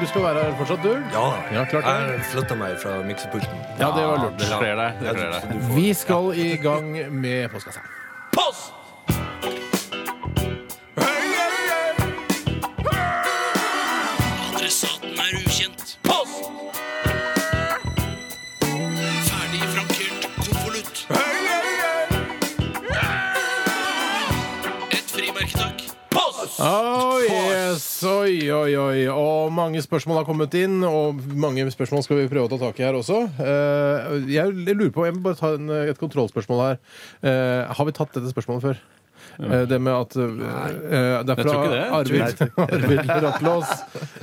du skal være her fortsatt, du? Ja, Ja, klart det. jeg flytta meg fra miksepulten. Ja, det var lurt. Det kler deg. Det kler deg. Vi skal i gang med postkassen. Post! Adressaten er ukjent. Post! Ferdig frankert konvolutt. Et frimerke, takk. Post! Oh, yes. Oi, oi, oi. Og mange spørsmål har kommet inn, og mange spørsmål skal vi prøve å ta tak i her også. Eh, Jeg lurer på, jeg må bare ta en, et kontrollspørsmål her. Eh, Har vi tatt dette spørsmålet før? Eh, Det med at eh, Det er Jeg fra tror ikke det. Arvid, Arvid Rattlås.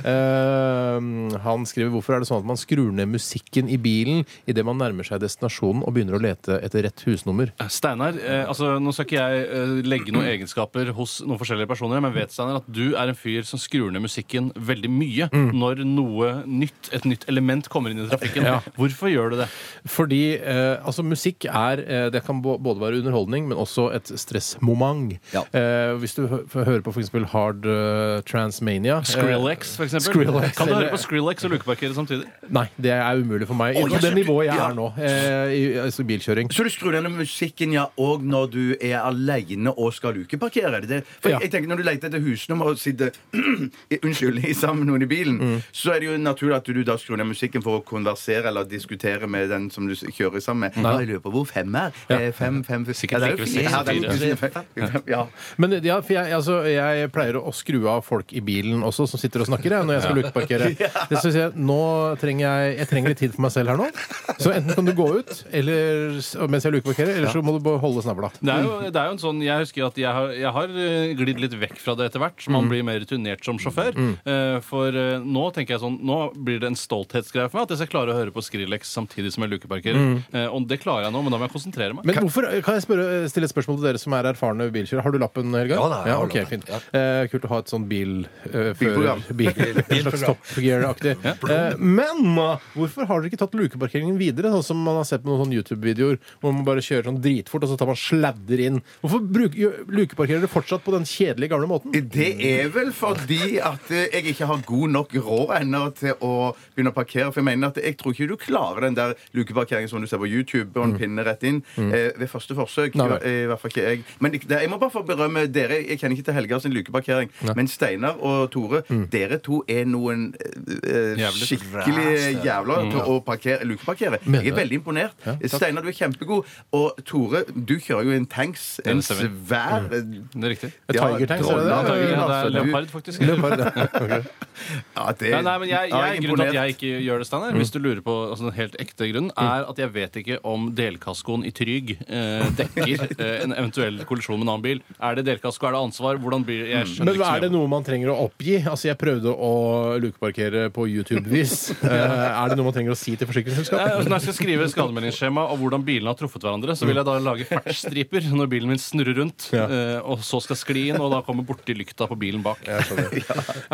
Eh, Han skriver hvorfor er det sånn at man skrur ned musikken i bilen idet man nærmer seg destinasjonen og begynner å lete etter rett husnummer? Steinar, eh, altså, nå skal ikke jeg eh, legge noen egenskaper hos noen forskjellige personer, men vet Steinar at du er en fyr som skrur ned musikken veldig mye når noe nytt, et nytt element kommer inn i trafikken. Ja. Hvorfor gjør du det? Fordi eh, altså musikk er eh, Det kan bå- både være underholdning, men også et stressmoment. Ja. Eh, hvis du hø hører på f.eks. Hard eh, Transmania eh, Skrillex, for eksempel. Skrillex, kan du eller- høre på Skrillex og lukeparkere samtidig? Nei, det er umulig for meg. Å, på jeg det skjønner. nivået jeg Ja. er nå. Eh, i, altså bilkjøring. Så du skrur ned musikken ja, og når du er aleine og skal lukeparkere? er det det? For Ja. jeg tenker Når du leter etter husnummer og sitter i- unnskyld, i sammen med noen i bilen, så er det jo naturlig at du da skrur ned musikken for å konversere eller diskutere med den som du s- kjører sammen med. Ja, jeg lurer på hvor fem er. Eh, Fem, fem, Sikkert Ja, det er jo like ved fire. seks og Ja, det er jo fire. Ja. Men ja, for jeg, altså, jeg pleier å skru av folk i bilen også, som sitter og snakker, jeg, når jeg skal lukeparkere. Det synes jeg, nå trenger jeg, jeg trenger litt tid for meg selv her nå. Så enten kan du gå ut eller, s- mens jeg lukeparkerer, eller så må du bare holde snavla. Det er, jo, det er jo en sånn, Jeg husker at jeg har, jeg har eh, glidd litt vekk fra det etter hvert. så Man blir mer returnert som sjåfør. Eh, For eh, nå tenker jeg sånn, nå blir det en stolthetsgreie for meg at jeg skal klare å høre på Skrillex samtidig som jeg lukeparkerer. Eh, Og det klarer jeg nå, men da må jeg konsentrere meg. Men hvorfor, eh, kan jeg spørre, stille et spørsmål til dere som er erfarne bilkjørere? Har du lappen, Helga? Ja da, jeg har ok, lappen. fint. Ja. Eh, kult å ha et sånn bilfører... Bilprogram. Bil, bil, slags Top Gear-aktig. Eh, men eh, hvorfor har dere ikke tatt lukeparkeringen videre, sånn som man har sett på noen sånne YouTube-videoer, hvor man bare kjører sånn dritfort, og så tar man sladder inn? Hvorfor bruk, gjør- lukeparkerer dere fortsatt på den kjedelige gamle måten? Det er vel fordi at eh, jeg ikke har god nok råd ennå til å begynne å parkere. For jeg mener at jeg tror ikke du klarer den der lukeparkeringen som du ser på YouTube, og en pinne rett inn, eh, ved første forsøk. Mm. Nei, I, vel. hver- I hvert fall ikke jeg. Men det, jeg må bare få berømme dere. Jeg kjenner ikke til Helga sin lukeparkering, men Steinar og Tore, Mm. dere to er noen eh, eh, Jævler. skikkelig jævler Mm. til å parkere, lukeparkere. Mener Jeg er du? veldig imponert. Steinar, du er kjempegod. Og Tore, du kjører jo en tanks. En det stemmer. svær Mm. Det er riktig. Et Tiger Tanks, er det Ja, Ja, det? det Tiger Tanks, er absolutt. leopard, faktisk. Leopard, ja. Ok. Ja, det, Nei, nei, men jeg, Ja, jeg, grunnen til at jeg ikke gjør det, Steinar, hvis du lurer på altså, den helt ekte grunnen, Mm. er at jeg vet ikke om delkaskoen i Tryg eh, dekker eh, en eventuell kollisjon med en annen bil. Er det delkasko? Er det ansvar? Hvordan blir det? Jeg skjønner Men ikke så er det mye. noe man trenger å oppgi? Altså, Jeg prøvde å lukeparkere på YouTube-vis. Eh, Er det noe man trenger å si til Nei, forsikringsselskapet? altså, Når jeg skal skrive skademeldingsskjema og hvordan bilene har truffet hverandre, så vil jeg da lage fartsstriper når bilen min snurrer rundt, Ja. eh, og så skal skli inn, og da kommer borti lykta på bilen bak. Ja,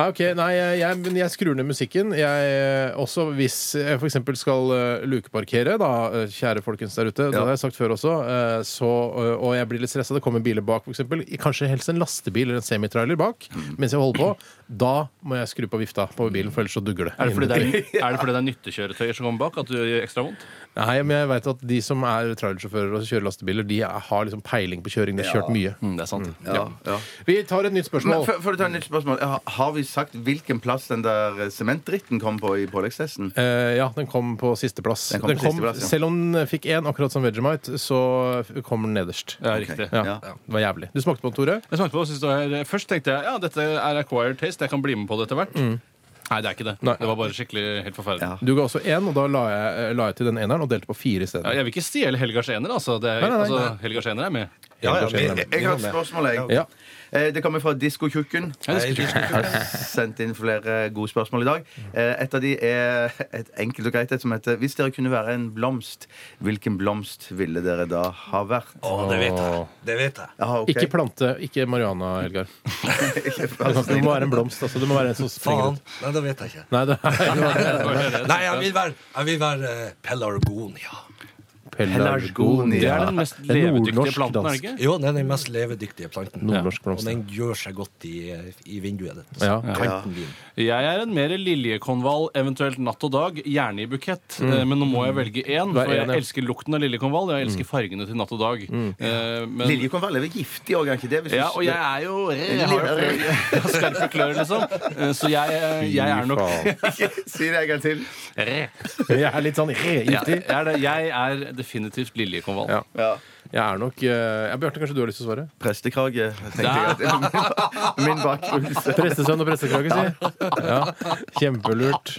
ok, Nei, jeg, jeg, men jeg skrur ned musikken. Jeg, eh, også hvis jeg f.eks. skal eh, lukeparkere, da, eh, kjære folkens der ute, det har jeg sagt før også, eh, så, eh, og jeg blir litt stressa, det kommer biler bak f.eks., kanskje helst en lastebil eller en semitrailer bak Mhm. mens jeg holder på, da må jeg skru på vifta på bilen, for ellers så dugger det. Er det, fordi det er, er det fordi det er nyttekjøretøyer som kommer bak, at du gjør ekstra vondt? Nei, men jeg vet at de som er trailersjåfører og kjører lastebiler, de har liksom peiling på kjøring. De har kjørt mye. Mm, det er sant. Ja, ja. Vi tar et nytt Men spørsmål. før, før du tar et nytt spørsmål ha- Har vi sagt hvilken plass den der eh, sementdritten kom på i påleggstesten? Eh, ja, den kom på sisteplass. Den kom på sisteplass, ja. Selv om den eh, fikk én, akkurat som Vegemite, så f- kom den nederst. Ja, riktig. Ja, Ja. Det var jævlig. Du smakte på den, Tore? Jeg smakte på, og syntes det var, først tenkte jeg ja, dette er acquired taste, jeg kan bli med på det etter hvert. Nei, det er ikke det. Mm. Nei. Det var bare skikkelig helt forferdelig. Ja. Du ga også én, og da la jeg, eh, la jeg til den eneren og delte på fire Ja, isteden. jeg vil ikke stjele Helgars ener, altså. Det er, Nei, nei, nei. altså Helgars ener er med. Ja, ja, Jeg, jeg har et spørsmål, jeg. Ja. Eh, Det kommer fra Diskotjukken. Ja, det skulle- Jeg har sendt inn flere gode spørsmål i dag. Eh, Et av de er et enkelt og greit et som heter Hvis dere kunne være en blomst, hvilken blomst ville dere da ha vært? Å, det vet jeg. Det vet jeg. Ah, ok. Ikke plante, ikke marihuana, Helgar. Ikke Du plast. må være en blomst. altså. Du må være en som springer Faen. ut. Nei, det vet jeg ikke. Nei, det er Nei, jeg vil være, jeg vil være eh, Pelargonia. Pelargonia. Det er den mest Det er levedyktige nordnorsk planten, er det dansk. ikke? Jo, det er den mest levedyktige planten. Nordnorsk Og blomst. den gjør seg godt i, i vinduet ditt. Ja. Kanten din. Jeg er en mer liljekonvall, eventuelt natt og dag, gjerne i bukett. Mm. Eh, Men nå må jeg velge én, Hva er for jeg en, ja? elsker lukten av liljekonvall, og jeg Mm. elsker fargene til natt og dag. Eh, Men, Liljekonvall er vel giftig òg, er ikke det? Hvis du- ja, og jeg er jo jeg har, jo- Lille- jeg har skarpe klør, liksom. Eh, Så jeg, jeg er nok Si det en gang til. Jeg er litt sånn Ja, giftig. jeg, er det. jeg er definitivt liljekonvall. Ja. Ja. Jeg er nok eh, ja, Bjarte, kanskje du har lyst til å svare? Prestekrage, tenkte jeg. at det var Min bakgrunn. Prestesønn og prestekrage, si. Ja, kjempelurt.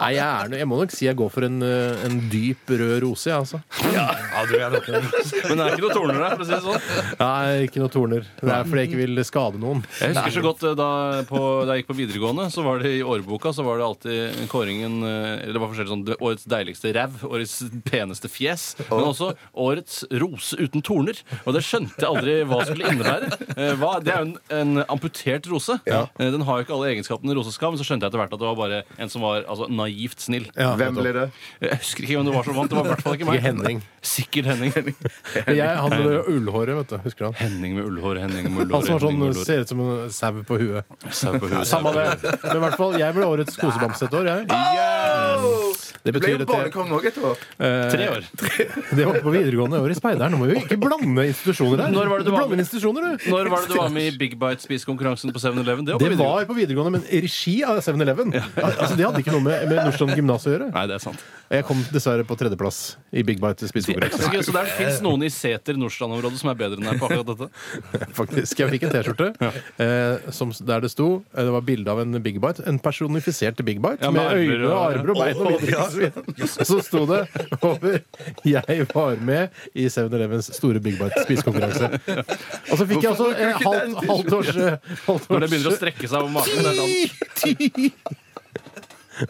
Nei, jeg, er, no- jeg må nok si jeg går for en, eh, en dyp rød rose, jeg, altså. Ja, du er nok Men det er ikke noe torner der, for å si det sånn. Nei, ikke noe torner. Det er fordi jeg ikke vil skade noen. Jeg husker så godt eh, da, på, da jeg gikk på videregående, så var det i årboka så var det alltid kåringen eh, Eller det var forskjellig sånn det- Årets deiligste ræv, årets peneste fjes, men også Årets rose uten torner. Og det skjønte jeg aldri hva skulle innebære. Eh, Hva, det er jo en, en amputert rose. Eh, Den har jo ikke alle egenskapene en rose skal ha, men så skjønte jeg etter hvert at det var bare en som var altså, naivt snill. Hvem ble det? Jeg husker ikke hvem det var som vant. Det var i hvert fall ikke meg. Ikke Henning. Sikkert Henning. Jeg hadde det ullhåret, vet du. Husker du han? Henning med ullhår, Henning med ullhår. Han som var Henning sånn, med ullhår. ser ut som en sau på huet. Sau på huet. Samme det. Men i hvert fall, jeg ble årets kosebamse et år, jeg. Det Du ble betyr jo at jeg, barnekonge òg et år. Tre år. det var på videregående år i Speideren. Nå må vi jo ikke blande institusjoner her. Når var det du var blander med? institusjoner, du. Når var det du var med i Big Bite-spisekonkurransen på 7-Eleven? Det, var på Det var videregående. på videregående, men i regi av 7-Eleven. Al- Altså, det hadde ikke noe med, med Nordstrand gymnas å gjøre. Nei, det er sant. Jeg kom dessverre på tredjeplass i Big Bite spisekonkurranse. Så der fins noen i Seter-Nordstrand-området som er bedre enn deg på akkurat dette? Faktisk. Jeg fikk en T-skjorte eh, som- der det sto eh, Det var bilde av en Big Bite. En personifisert Big Bite Ja, med, med øyne armer og og- armer og bein. Og videre. Så sto det over 'Jeg var med i 7-Elevens store Big Bite spisekonkurranse'. Og så fikk jeg også eh, halvt, halvt års, eh, halvt Når det års begynner å strekke seg over magen. det er sant.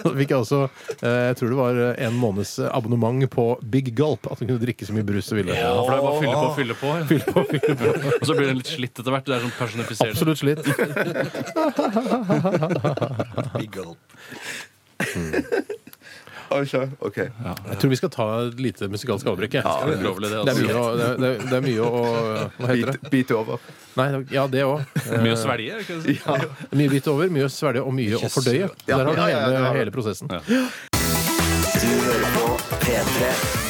Så fikk jeg også eh, jeg tror det var en måneds eh, abonnement på Big Gulp. At hun kunne drikke så mye brus hun ville. Ja, for det er bare å fylle på og fylle på. Fylle på, fylle på. Og så blir den litt slitt etter hvert. Det er sånn personifisert. Absolutt slitt. big gulp. Altså, OK. Jeg tror vi skal ta et lite musikalsk avbrekk. jeg. Er det lov til det, Det er altså? mye å, det er, det er mye å Hva heter det? Bit, bit over. Nei, det- ja, det òg. Mye å svelge. er det ikke det? Mye bit over, mye å svelge og mye å fordøye. Der har du Ja, ja, ja, hele, ja. hele prosessen. Du hører på P3.